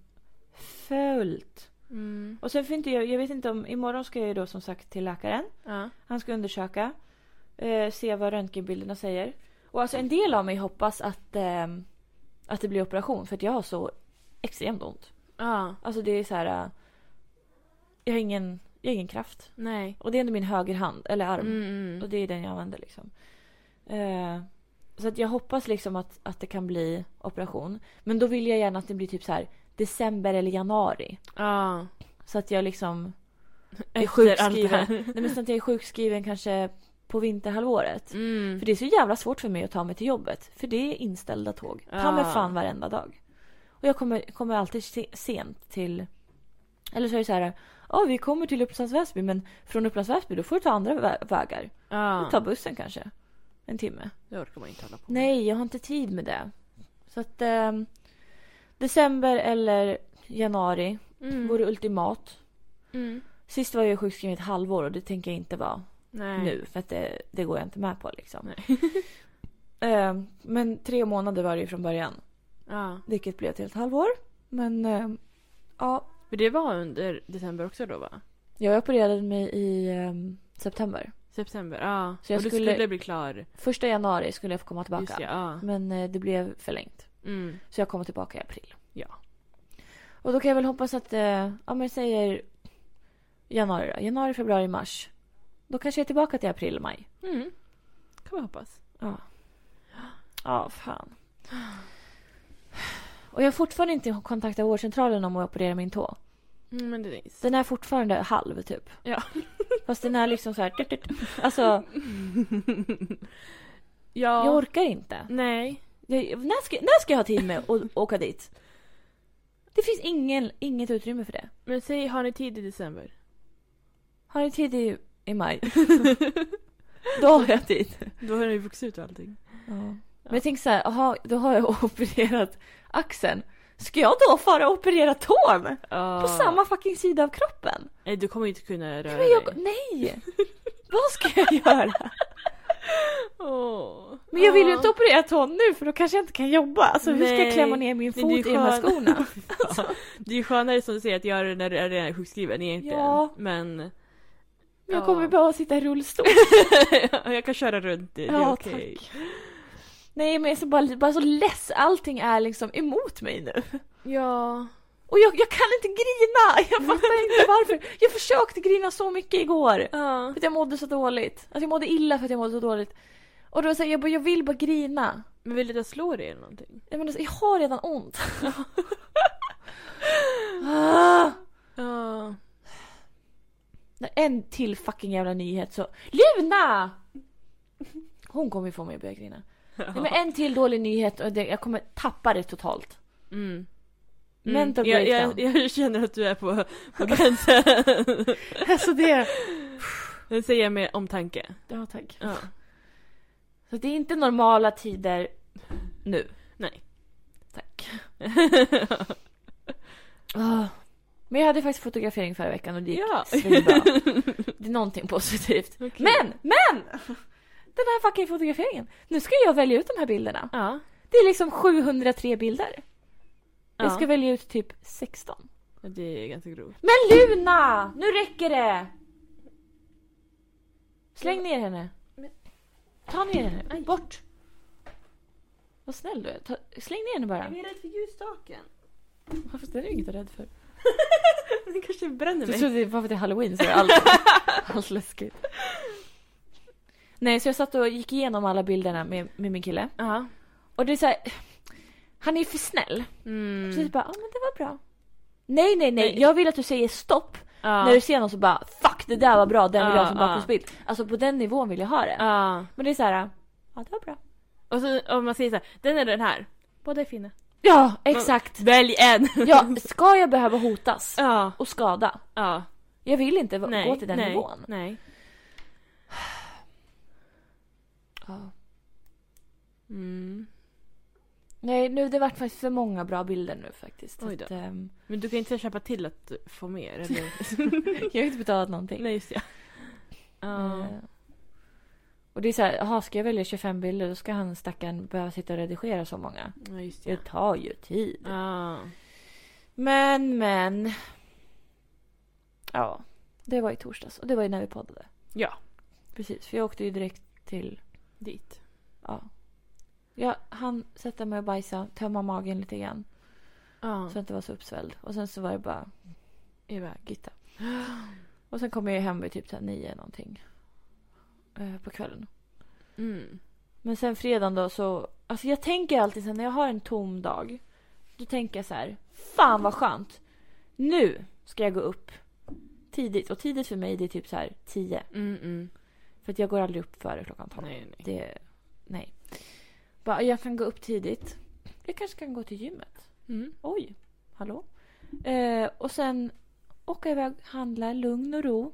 fullt. Mm. Och sen får inte jag, jag vet inte om, imorgon ska jag ju då som sagt till läkaren. Ja. Han ska undersöka. Eh, se vad röntgenbilderna säger. Och alltså en del av mig hoppas att, ehm, att det blir operation för att jag har så extremt ont. Ja. Alltså det är så här. eh, jag, har ingen, jag har ingen kraft. Nej. Och det är ändå min högerhand, eller arm. Mm, mm. Och det är den jag använder liksom. Eh, så att jag hoppas liksom att, att det kan bli operation. Men då vill jag gärna att det blir typ så här december eller januari. Ja. Så att jag liksom är Efter allt det sjukskriven. här. Nej men så att jag är sjukskriven kanske på vinterhalvåret. Mm. För det är så jävla svårt för mig att ta mig till jobbet. För det är inställda tåg. Ta mig Ja. fan varenda dag. Och jag kommer, kommer alltid se- sent till... Eller så är det så här. Ja, vi kommer till Upplands Väsby men från Upplands Väsby då får du ta andra vä- vägar. Ja. Ta bussen kanske. En timme. Det orkar man inte hålla på med. Nej, jag har inte tid med det. Så att... ehm, december eller januari Mm. vore ultimat. Mm. Sist var jag sjukskriven i ett halvår och det tänker jag inte vara Nej. nu för att det, det går jag inte med på liksom. Eh, men tre månader var det ju från början. Ja. Vilket blev till ett halvår. Men eh, ja, För det var under december också då va? jag opererade mig i eh, september. September, ja. Så jag och du skulle- skulle... bli klar. Första januari skulle jag få komma Just tillbaka. det, ja. Men eh, det blev förlängt. Mm. Så jag kommer tillbaka i april. Ja. Och då kan jag väl hoppas att, eh, ja men jag säger januari då. Januari, februari, mars. Då kanske jag är tillbaka till april, maj. Mm. Kan man hoppas. Ja. Ja, fan. Och jag har fortfarande inte kontaktat vårdcentralen om att operera min tå. Mm, men det är nice. Den är fortfarande halv typ. Ja. Fast den är liksom så här... tut, tut. Alltså, Ja. jag orkar inte. Nej. Jag, när, ska, när ska jag ha tid med att åka dit? Det finns ingen, inget utrymme för det. Men säg, har ni tid i december? Har ni tid i, i maj? Då har jag tid. Då har ni vuxit ut och allting. Men jag tänker så här, aha, då har jag opererat axeln. Ska jag då fara och operera tån? Ja. På samma fucking sida av kroppen? Nej, du kommer ju inte kunna röra Men jag, dig. nej! Vad ska jag göra? Åh. Men jag vill ju Ja. inte operera tån nu för då kanske jag inte kan jobba. Alltså hur ska jag Nej. klämma ner min det fot är i de här skönt. skorna? Det är ju skönare som du säger att göra det när du är redan sjukskriven egentligen. Ja. Men Men jag Ja. kommer behöva sitta i rullstol. jag kan köra runt dig, det är Ja, okej. Nej men jag är så bara, bara så less, allting är liksom emot mig nu. Ja. Och jag, jag kan inte grina! Jag fattar inte varför. Jag försökte grina så mycket igår. Ja. För att jag mådde så dåligt. Alltså jag mådde illa för att jag mådde så dåligt. Och då säger jag bara, jag vill bara grina. Men vill du att jag slår dig eller någonting? Jag, menar, jag har redan ont. ah. Ja. Nej, En till fucking jävla nyhet så... Luna! Hon kommer ju få mig att börja grina. Nej, men en till dålig nyhet och det, jag kommer tappa det totalt. Mm. Mental jag, jag, breakdown. jag känner att du är på, på gränsen. Alltså det... Det säger jag med omtanke. Ja tack. Ja. Så det är inte normala tider nu. Nej. Tack. Ah. Men jag hade faktiskt fotografering förra veckan och det gick Ja. svinbra. Det är någonting positivt. Okej. Men, men! Den här fucking fotograferingen. Nu ska jag välja ut de här bilderna. Ja. Det är liksom 703 bilder. ja. Jag ska välja ut typ 16. Det är ganska grovt. Men Luna! Nu räcker det! Släng ner henne. Ta ner henne. Bort. Vad snäll du är. Ta, släng ner henne bara. är rädd för ljusstaken. Varför är du inget rädd för? Den kanske bränner Du mig. trodde det var för att det är halloween så är allt, allt läskigt. Nej, så jag satt och gick igenom alla bilderna med, med min kille. Ja. Och det är så här, Han är ju för snäll. Så Mm. jag bara, ja ah, men det var bra. Nej, nej, nej. Nej. Jag vill att du säger stopp Ja. När du ser någon så bara fuck det där var bra, den vill jag ha som Ja, ja. bakgrundsbild. Alltså på den nivån vill jag ha det. Ja. Men det är så här, ja det var bra. Och så om man säger så här, den eller den här. Båda är fina. Ja, exakt. Välj en! Mm. Ja, ska jag behöva hotas Ja. och skada? Ja. Jag vill inte v- Nej. gå till den nej. nivån. Nej. Ja. Mm. Nej, nu det vart faktiskt för många bra bilder nu faktiskt. Så Oj då. Att, ehm, Men du kan inte köpa till att få mer eller? jag har inte betalat någonting. nej just det. Ja. Eh, Och det är så här, jaha, ska jag välja 25 bilder då ska han stackaren behöva sitta och redigera så många. Ja, just det. Det tar ju tid. Ja. Men, men. Ja, det var i torsdags och det var ju när vi poddade. Ja. Precis, för jag åkte ju direkt till, Dit. ja. Jag hann sätta mig och bajsa, tömma magen lite grann. Ja. Så jag inte var så uppsvälld. Och sen så var det bara Iväg. gitta. Och sen kom jag ju hem vid typ så här nio någonting. Eh, på kvällen. Mm. Men sen fredagen då så, alltså jag tänker alltid sen när jag har en tom dag. Då tänker jag så här, fan vad skönt. Nu ska jag gå upp tidigt. Och tidigt för mig det är typ så här tio. Mm, mm. För att jag går aldrig upp före klockan tolv. Nej, nej. Det, nej. Bara, jag kan gå upp tidigt. Jag kanske kan gå till gymmet. Mm. Oj, hallå. Eh, och sen åka iväg, handla, lugn och ro.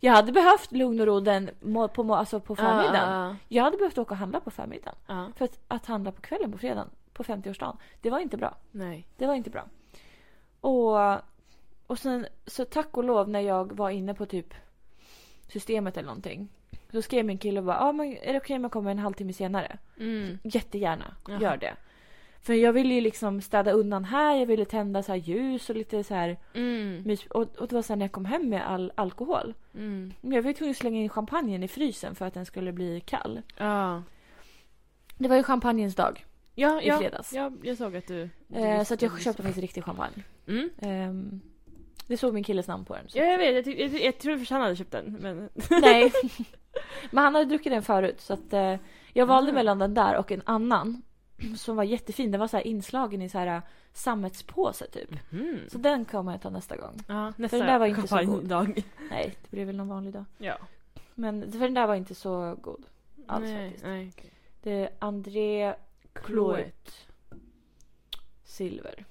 Jag hade behövt lugn och ro den, må- på, må- alltså Ah, på förmiddagen. Ja, Jag hade behövt åka och handla på förmiddagen. ja, ja. För att, att handla på kvällen på fredagen, på 50-årsdagen, det var inte bra. Nej. Det var inte bra. Och, och sen, så tack och lov när jag var inne på typ systemet eller någonting. Så skrev min kille och bara, ah, men är det okej om jag kommer en halvtimme senare? Mm. Jättegärna, Jaha. gör det. För jag ville ju liksom städa undan här, jag ville tända så här ljus och lite så här Mm. mys. Och, och det var sen när jag kom hem med all alkohol. Mm. Men Jag var ju tvungen att slänga in champagnen i frysen för att den skulle bli kall. Ja. Det var ju champagnens dag Ja, i ja. fredags. ja, jag såg att du... du Eh, så visste- att jag köpte faktiskt riktig champagne. Mm. Ehm, det såg min killes namn på den. så- Ja, jag vet. Jag, tyck, jag, jag tror för att han hade köpt den. Men... Nej. Men han hade druckit den förut så att eh, jag valde Mm. mellan den där och en annan. Som var jättefin. Den var så här inslagen i så här eh, sammetspåse typ. Mm. Så den kommer jag ta nästa gång. Ja, nästa den där var inte så god. champagnedag. Nej, det blir väl någon vanlig dag. Ja. Men för den där var inte så god. Alls nej, faktiskt. Nej. Det är André Chloe. Kloet. Silver.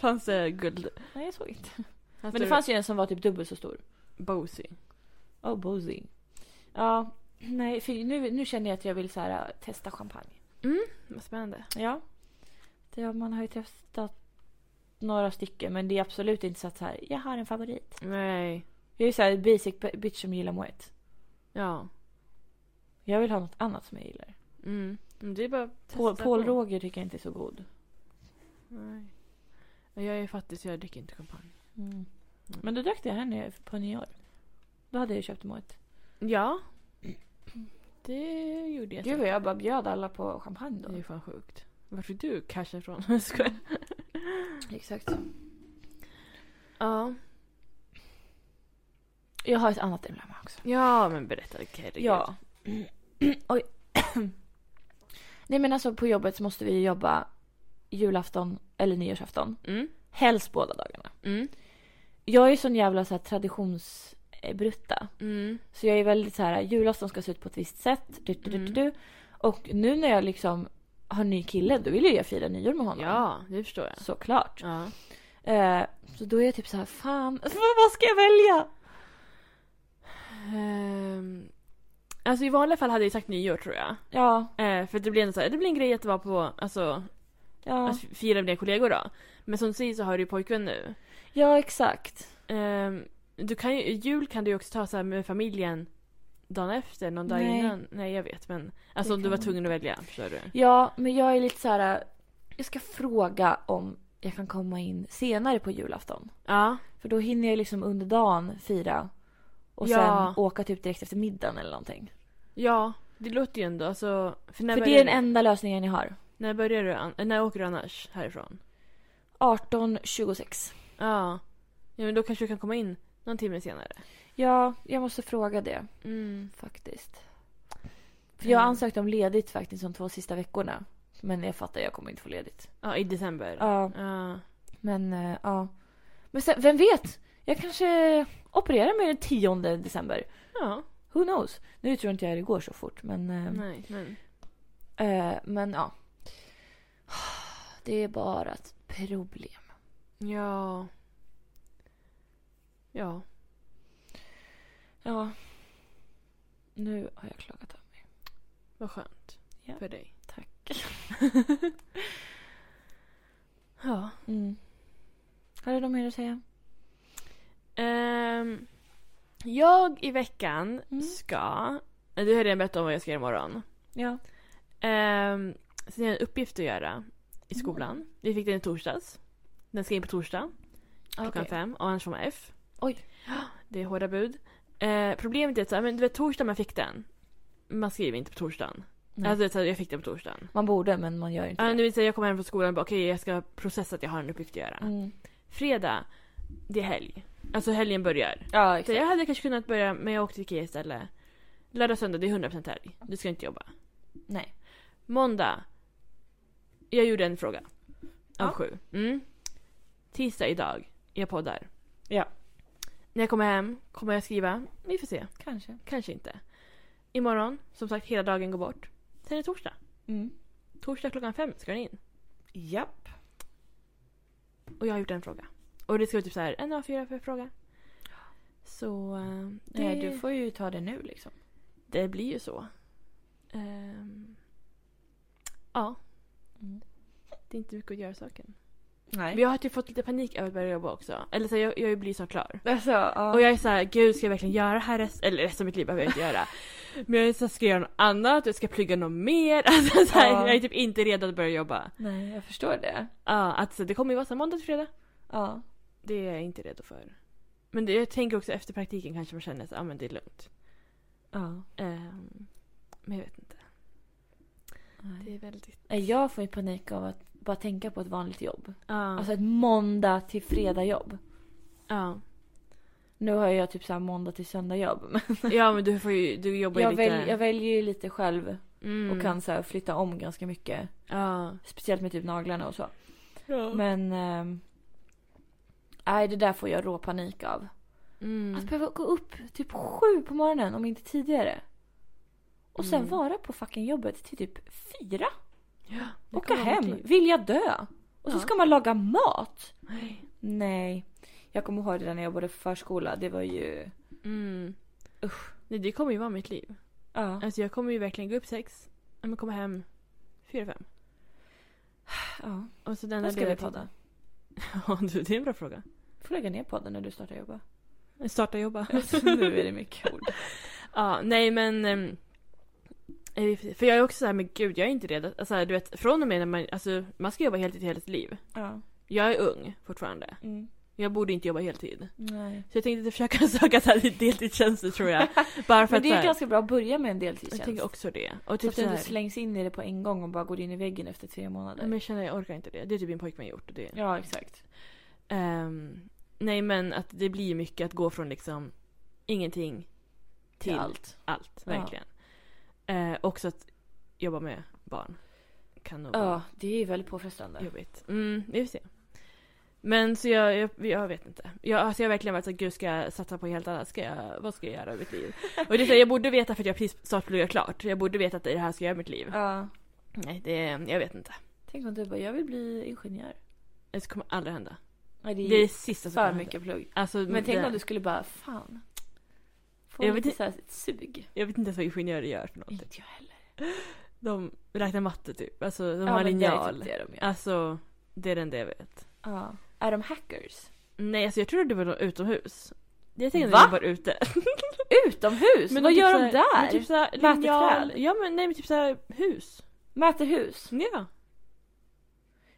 Fanns det guld? Nej, jag såg inte. Men det fanns ju en som var typ dubbelt så stor. Bosie. Oh, Bozy. Ja, nej, för nu, nu känner jag att jag vill så här, eh, testa champagne. Vad spännande. Ja. Det, man har ju testat några stycken men det är absolut inte så att så här, jag har en favorit. Nej. Jag är så här basic b- bitch som gillar Moet. Ja. Jag vill ha något annat som jag gillar. Mm. Men Det är bara att Paul, testa Paul på. Roger tycker jag inte är så god. Nej. Jag är fattig så jag dricker inte champagne. Mm. Men då drack jag här nere på nyår. Då hade jag ju köpt Moet. Ja. Det gjorde Gud jag. säkert. vad jag bara bjöd alla på champagne Det är då. ju fan sjukt. Var fick du cashen ifrån? Jag skojar. Exakt. Ja. Jag har ett annat ämne med också. Ja, men berätta. herregud. Ja. Oj. Nej men alltså på jobbet så måste vi ju jobba julafton eller nyårsafton. Mm. Helst båda dagarna. Mm. Jag är sån jävla så här traditionsbrutta. Mm. Så jag är väldigt så här, julafton ska se ut på ett visst sätt. Du, du, Mm. du, du, du. Och nu när jag liksom har ny kille, då vill ju jag fira nyår med honom. Ja, det förstår jag. Såklart. Ja. Eh, så då är jag typ så här, fan, vad ska jag välja? Ehm, alltså i vanliga fall hade jag sagt nyår tror jag. Ja, Eh, för det blir, en, så här, det blir en grej att vara på, alltså, ja, att fira med dina kollegor då. Men som du säger så har du ju pojkvän nu. ja exakt. Ehm, du kan ju, jul kan du ju också ta så här med familjen dagen efter, någon dag Nej. innan. Nej jag vet men. Alltså Det om du kan var man tvungen att välja, förstår du? Ja, men jag är lite så här, jag ska fråga om jag kan komma in senare på julafton. Ja. För då hinner jag liksom under dagen fira och Ja. sen åka typ direkt efter middagen eller någonting. Ja, det låter ju ändå alltså. För när, För det börjar, är den enda lösningen jag har. när börjar du, an- när åker du annars härifrån? 18.26. Ja. Ja men då kanske du kan komma in någon timme senare. Ja, jag måste fråga det Mm. faktiskt. För jag har Mm. ansökt om ledigt faktiskt de två sista veckorna. Men jag fattar, jag kommer inte få ledigt. Ja, i december. Ja, Ja. men eh, ja. Men sen, vem vet? Jag kanske opererar mig den 10 december. Ja. Who knows? Nu tror inte jag det går så fort, men... eh, Nej, men. eh, men ja. Det är bara ett problem. Ja. Ja. Ja. Nu har jag klagat av mig. Vad skönt. Ja. För dig. Tack. Ja. Mm. Har du något mer att säga? Ehm, jag i veckan Mm. ska Du har redan berättat om vad jag ska göra imorgon. Ja. Ehm, sen har jag en uppgift att göra i skolan. Vi fick den i torsdags. Den ska in på torsdag klockan Okej. fem och annars får man F. Oj. Ja, Det är hårda bud. Eh, problemet är att så här, men du vet torsdag man fick den. Man skriver inte på torsdagen. Nej. Alltså, du vet, så här, jag fick den på torsdagen. Man borde men man gör inte Ja, det. nu vill säga, jag kommer hem från skolan och bara okej jag ska processa att jag har en uppgift att göra. Mm. Fredag, det är helg. Alltså helgen börjar. Ja Så exakt. jag hade kanske kunnat börja men jag åkte till Ikea istället. Lördag, söndag, det är 100% helg. Du ska inte jobba. Nej. Måndag. Jag gjorde en fråga. Av Ja. sju. Mm. Tisdag idag. Jag poddar. Ja. När jag kommer hem kommer jag skriva. Vi får se. Kanske. Kanske inte. Imorgon, som sagt, hela dagen går bort. Sen är det torsdag. Mm. Torsdag klockan fem ska den in. Japp. Och jag har gjort en fråga. Och det ska vara typ så här en av fyra för fråga. Så eh, det, Nej, du får ju ta det nu liksom. det blir ju så. Ehm, ja. Mm. Det är inte mycket att göra saken. Nej. Men jag har typ fått lite panik över att börja jobba också. Eller så här, jag, jag blir så klar. Alltså, ja. Och jag är så här, gud ska jag verkligen göra det här resten, eller resten av mitt liv behöver jag inte göra. Men jag är så här, ska jag göra något annat? Jag ska plugga något mer? Alltså, så här, Ja. Jag är typ inte redo att börja jobba. Nej, jag förstår det. Ja, att så det kommer ju vara så här, måndag till fredag. Ja. Det är jag inte redo för. Men det, jag tänker också efter praktiken kanske man känner att ah, men det är lugnt. ja. Ehm, men jag vet inte. Det är väldigt... Nej, Jag får ju panik av att bara tänka på ett vanligt jobb. Ja. Alltså ett måndag till fredag jobb. ja. Nu har jag typ så här måndag till söndag jobb. Men ja, men du får ju... Du jobbar ju jag, lite... väl, jag väljer ju lite själv Mm. och kan så här flytta om ganska mycket. Ja. Speciellt med typ naglarna och så. Men... Men... ehm, Nej, det där får jag rå panik av. Mm. Att behöva gå upp typ sju på morgonen om inte tidigare. Och sen Mm. vara på fucking jobbet till typ fyra. Ja, det Åka kommer vara hem, mitt liv. vilja dö. Och så Ja. ska man laga mat. Nej. Nej. Jag kommer ihåg det där när jag jobbade på förskola. Det var ju... Mm. Usch. Nej, det kommer ju vara mitt liv. Ja. Alltså jag kommer ju verkligen gå upp sex, ja, men komma hem fyra, fem. ja. Och så den När där ska vi ledigheten- podda? Ja du, det är en bra fråga. får lägga ner podden när du startar jobba. Starta jobba. Alltså, nu är det mycket ord. ja, nej men. ehm, eh, För jag är också så här, men gud jag är inte redo. Alltså du vet, från och med när man, alltså man ska jobba heltid hela sitt liv. Ja. Jag är ung fortfarande. Mm. Jag borde inte jobba heltid. Nej. Så jag tänkte typ försöka söka så här lite deltidstjänster tror jag. Bara för Men att det så är här, ganska bra att börja med en Jag deltidstjänst. tänker också det. Och så typ att så du inte här, slängs in i det på en gång och bara går in i väggen efter tre månader. men jag känner jag orkar inte det. Det är typ min pojkvän gjort. Och det, Ja, exakt. Ehm, nej men att det blir mycket att gå från liksom ingenting till Till allt. allt. Ja. verkligen. Eh, också att jobba med barn kan nog vara Ja, det är ju väldigt påfrestande. jobbigt. Mm, vi får se. Men så jag, jag, jag vet inte. Jag, alltså jag har verkligen varit såhär, gud ska jag satsa på helt annat? Ska jag, vad ska jag göra i mitt liv? Och det är så här, jag borde veta för att jag precis snart pluggar klart. Jag borde veta att det är det här ska jag göra i mitt liv. Ja. Nej, det, jag vet inte. Tänk om du bara, jag vill bli ingenjör. Det kommer aldrig hända. Nej, det är, Det är det sista som för kommer hända. mycket plugg. Alltså, Men tänk det, om du skulle bara, fan. Få Jag jag vet lite inte- såhär sug. Jag vet inte ens vad ingenjörer gör för någonting. Inte jag heller. De räknar matte typ. Alltså de Ja, har men det linjal. accepterar de ju. Alltså det är den det jag vet. Ja. Är de hackers? Nej alltså jag tror det var de utomhus. Jag tänkte Va? att de var ute. Utomhus? Vad typ gör så de här- där? Men typ såhär Mäter linjal. träd? Ja men nej men typ såhär hus. Mäter hus? Ja.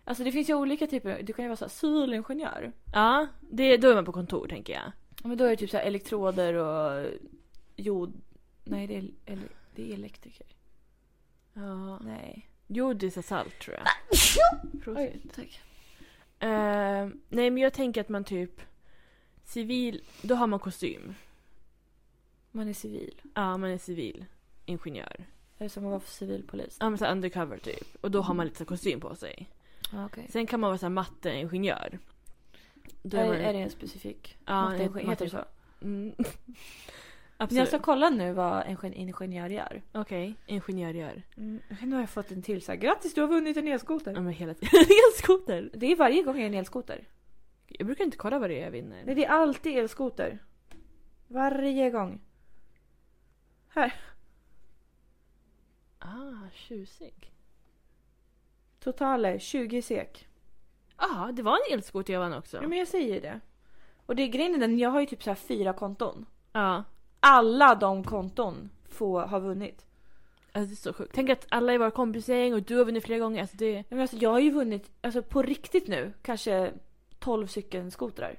Alltså det finns ju olika typer. Du kan ju vara så här, civilingenjör. Ja, det, då är man på kontor tänker jag. Ja, Men då är det typ så här elektroder och jod... Nej det är, ele... det är elektriker. Ja. Nej. Jo det är så här salt tror jag. Prosit. Oj, tack. Eh, nej men jag tänker att man typ civil, då har man kostym. Man är civil. Ja man är civil ingenjör. Är det som att vara för civilpolis? Ja men såhär undercover typ. Och då har man lite så här kostym på sig. Ja, Ah, okej. Sen kan man vara så här matteingenjör. Då Är, man- är det en specifik? Ja, matte- en- heter det så? Mm. Men Absolut. jag ska kolla nu vad en ingen- ingenjör gör. Okej, ingenjör gör. Mm, Nu har jag fått en till så här, grattis du har vunnit en elskoter. Ja men hela tiden. Elskoter! Mm. Det är varje gång jag är en elskoter. Jag brukar inte kolla vad det är jag vinner. Nej, det är alltid elskoter. Varje gång. Ah, tjusig. Totale 20 sek. Ja, ah, det var en elskoter jag vann också. Ja. men jag säger det. Och det är grejen är den, jag har ju typ så här fyra konton. Ja. Alla de konton få har vunnit. Alltså det är så sjukt. Tänk att alla i våra kompisgäng och du har vunnit flera gånger. Alltså det... Men alltså, jag har ju vunnit, alltså på riktigt nu, kanske 12 stycken skotrar.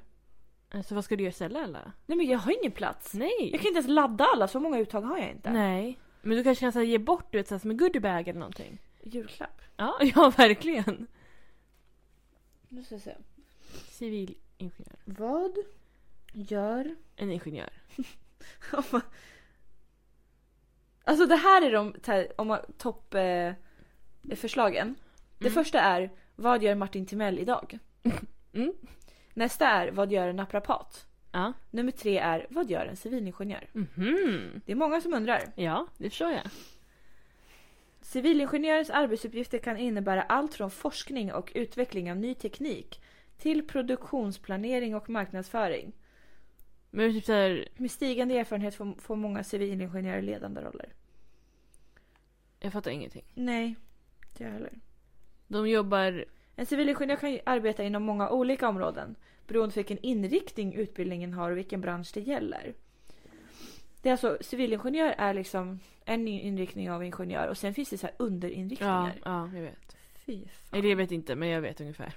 Alltså vad ska du göra istället alla? Nej men jag har ingen plats. Nej! Jag kan inte ens ladda alla, så många uttag har jag inte. Nej. Men du kanske kan så här, ge bort du vet, så här, som en goodiebag eller någonting. Julklapp. Ja, ja verkligen. Nu ska jag se. Civilingenjör. Vad gör... En ingenjör. om man- alltså det här är de så här, om man- topp eh, förslagen. Det Mm. första är Vad gör Martin Timell idag? Mm. Nästa är Vad gör en naprapat? Ja. Nummer tre är Vad gör en civilingenjör? Mhm. Det är många som undrar. Ja, det förstår jag. Civilingenjörens arbetsuppgifter kan innebära allt från forskning och utveckling av ny teknik till produktionsplanering och marknadsföring. Men det är typ såhär, Med stigande erfarenhet får, får många civilingenjörer ledande roller. jag fattar ingenting. Nej, det gör jag heller. De jobbar... En civilingenjör kan ju arbeta inom många olika områden beroende på vilken inriktning utbildningen har och vilken bransch det gäller. Det är alltså, civilingenjör är liksom en inriktning av ingenjör och sen finns det så här Ja, underinriktningar. ja, jag vet. Fy fan. Eller jag vet inte, men jag vet ungefär.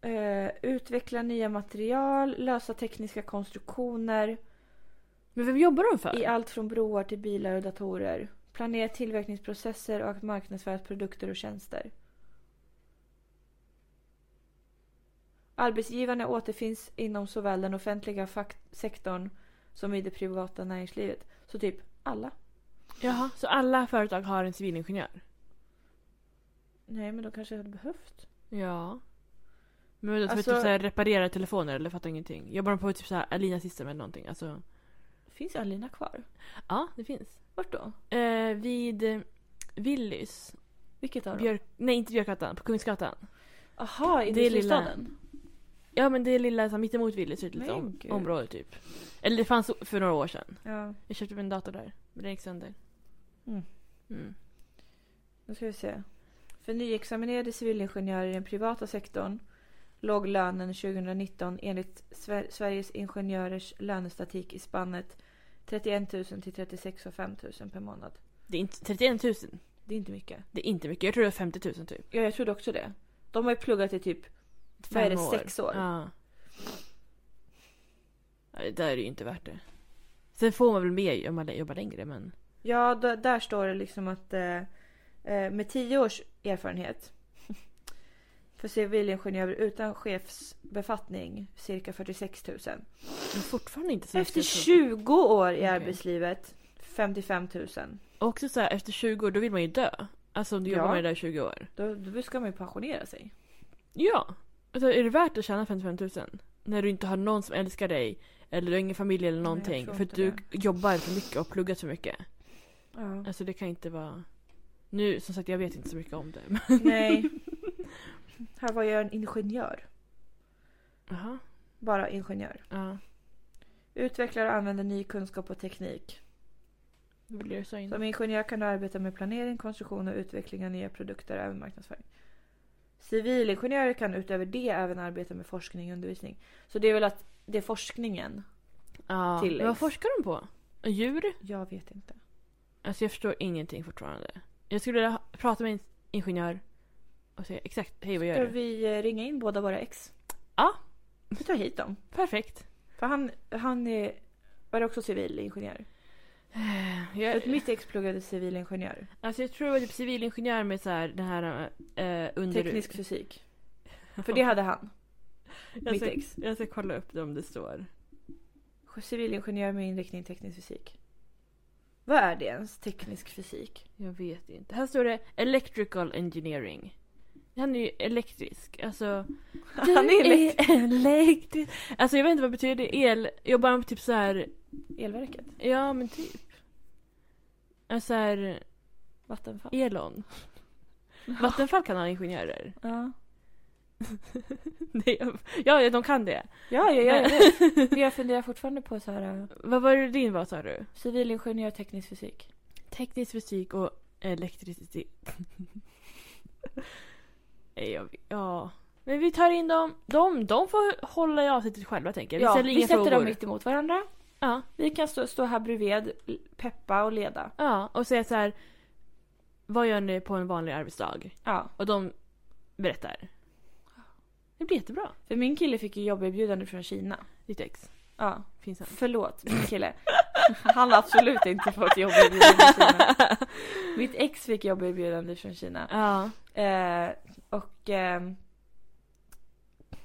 Eh, utveckla nya material, lösa tekniska konstruktioner Men vem jobbar de för? i allt från broar till bilar och datorer. Planera tillverkningsprocesser och att marknadsföra produkter och tjänster. Arbetsgivarna återfinns inom såväl den offentliga fak- sektorn som i det privata näringslivet. Så typ alla. Jaha, så alla företag har en civilingenjör? Nej, men de kanske hade behövt. Ja. Men vadå, Alltså- alltså... typ såhär, reparera telefoner eller fattar ingenting? Jobbar de på typ såhär Alina System eller någonting? Alltså, Finns Alina kvar? ja, det finns. Vart då? Eh, vid eh, Willys. Vilket av dem? Björk... Nej, inte Björkgatan. På Kungsgatan. Jaha, i Det är lilla- Industristaden? Ja, men det är lilla så här, mittemot Willys. Ett litet Men om- gud. område typ. Eller det fanns för några år sedan. Ja. Jag köpte min dator där. Men den gick sönder. Mm. Mm. Nu ska vi se. För nyexaminerade civilingenjörer i den privata sektorn låg lönen 2019 enligt Sver- Sveriges ingenjörers lönestatik i spannet 31 000 till 36 500 per månad. Det är inte 31 000. Det är inte mycket. Det är inte mycket. Jag tror det var 50 000 typ. Ja, jag trodde också det. De har ju pluggat i typ, vad är det, Fem sex år? Ja. ja. Det där är ju inte värt det. Sen får man väl mer om man jobbar längre men... Ja, d- där står det liksom att eh, eh, med tio års erfarenhet för civilingenjörer utan chefsbefattning cirka 46 000. Men fortfarande inte så Efter mycket. 20 år i Okej. arbetslivet, 55 000. Och också så här, efter 20 år då vill man ju dö. Alltså om du jobbar Ja. med det där i 20 år. Då, då ska man ju pensionera sig. Ja! Alltså är det värt att tjäna 55 000? När du inte har någon som älskar dig. Eller du har ingen familj eller Nej, jag någonting. tror för att du inte jobbar för mycket och pluggat för mycket. Ja. Alltså det kan inte vara... Nu som sagt jag vet inte så mycket om det. men- Nej. Här var jag en ingenjör. Jaha. Bara ingenjör. Ja. Utvecklar och använder ny kunskap och teknik. Då vill jag säga in. Som ingenjör kan du arbeta med planering, konstruktion och utveckling av nya produkter och även marknadsföring. Civilingenjörer kan utöver det även arbeta med forskning och undervisning. Så det är väl att det är forskningen? Ja. tilläggs. Men Vad forskar de på? Djur? Jag vet inte. Alltså jag förstår ingenting fortfarande. Jag skulle vilja ha- prata med en ingenjör och säga exakt hej vad Ska gör du? vi eh, ringa in båda våra ex? Ja. Vi tar hit dem. Perfekt. För han, han är, var också civilingenjör. Så Jag, att mitt ex pluggade civilingenjör. alltså jag tror det var typ civilingenjör med så här den här eh, under... Teknisk fysik. För det hade han. jag mitt ska, ex. Jag ska kolla upp det om det står. Civilingenjör med inriktning teknisk fysik. Vad är det ens? Teknisk fysik? Jag vet inte. Här står det electrical engineering. Han är ju elektrisk. Alltså... Han är elektrisk. elektrisk. Alltså jag vet inte vad betyder det. El... Jobbar han på typ så här... Elverket? Ja men typ. Alltså så här... Vattenfall? Elon. Vattenfall kan ha ingenjörer. Ja. Nej, ja, de kan det. Ja, ja, ja, jag vet. Men jag funderar fortfarande på så här. eh, Vad var det din var sa du? Civilingenjör teknisk fysik. Teknisk fysik och elektricitet. Nej, jag, ja. Men vi tar in dem. De, de får hålla i avsnittet själva tänker jag. Vi ja, ställer vi inga sätter frågor. dem mitt emot varandra. Ja, Vi kan stå, stå här bredvid, peppa och leda. ja. Och säga så här. Vad gör ni på en vanlig arbetsdag? Ja. Och de berättar. Det blir jättebra. För min kille fick ju jobberbjudande från Kina. Ditt ex. Ja. Finns han. Förlåt min kille. Han har absolut inte fått jobberbjudande från Kina. Mitt ex fick jobberbjudande från Kina. Ja. Eh, och ehm,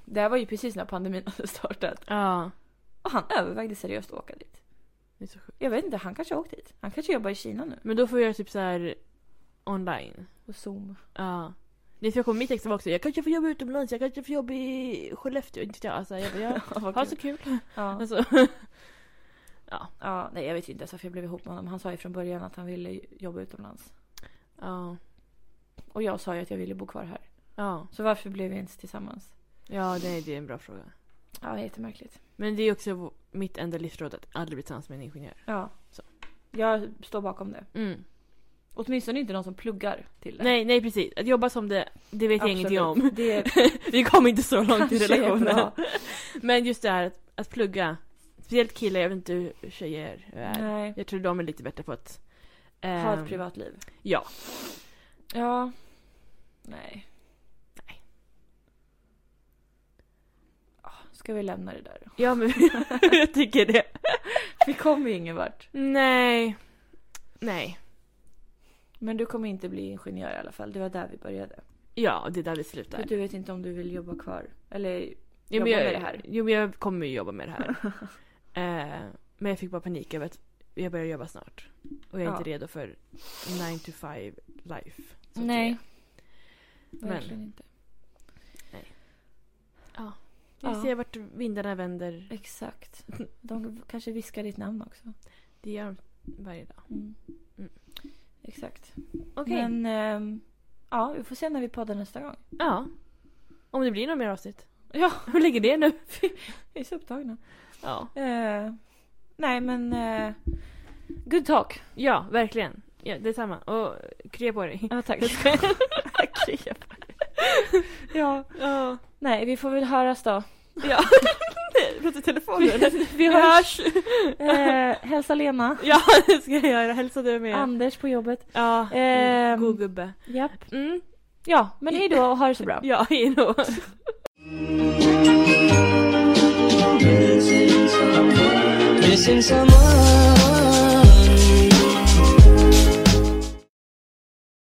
det här var ju precis när pandemin hade startat. Ja. Och han övervägde seriöst att åka dit. Det är så sjukt. Jag vet inte, han kanske har åkt dit. Han kanske jobbar i Kina nu. Men då får vi göra typ så här online. Och Zoom. Ja. Det är för jag kommer mitt ex var också. Jag kanske får jobba utomlands. Jag kanske får jobba i Skellefteå. Inte vet jag. Alltså, jag bara, jag Ja, vad har kul. så kul. ja. Alltså. ja, nej jag vet ju inte ens varför jag blev ihop med honom. Han sa ju från början att han ville jobba utomlands. Ja. Och jag sa ju att jag ville bo kvar här. Ja. Så varför blev vi ens tillsammans? Ja, det är, det är en bra fråga. Ja, det är jättemärkligt. Men det är också v- mitt enda livsråd att aldrig bli tillsammans med en ingenjör. Ja. Så. Jag står bakom det. Åtminstone inte någon som pluggar till det. Nej, nej precis. Att jobba som det, det vet jag ingenting om. Absolut. Det Vi kom inte så långt i Kanske är relationen. bra. Men just det här att, att plugga. Speciellt killar, jag vet inte hur tjejer är. Nej. Jag tror de är lite bättre på att... Ha ehm, ett privatliv. Ja. Ja. Nej. Nej. Ah, Ska vi lämna det där då? Ja men jag tycker det. Vi kommer ju ingen vart. Nej. Nej. Men du kommer inte bli ingenjör i alla fall. Det var där vi började. Ja, det är där vi För slutar. du vet inte om du vill jobba kvar. Eller Jo, jobba men jag, med det här. Jo, men jag kommer ju jobba med det här. eh, men jag fick bara panik över att jag börjar jobba snart. Och jag är Ja. inte redo för 9 to 5 life. så att Nej. Men- Verkligen inte. säga. Vi Ja. ser vart vindarna vänder. Exakt. De kanske viskar ditt namn också. Det gör de varje dag. Mm. Exakt. Okej. Men ehm, ja, vi får se när vi poddar nästa gång. Ja. Om det blir några mer avsnitt. Ja, Vi lägger det nu. vi är så upptagna. Ja. Eh, nej, men eh, good talk. Ja, verkligen. Ja, detsamma. Och krya på dig. Ja, tack. Jag skojar. ja. Ja. Nej, vi får väl höras då. Ja. Prata i telefonen. Vi hörs. Eh, hälsa Lena. Ja, det ska jag göra. Hälsa du med. Anders på jobbet. Ja, Ehm. god gubbe. Japp. Mm. Ja, men hej då och ha det så bra. Ja, hejdå. Missing someone.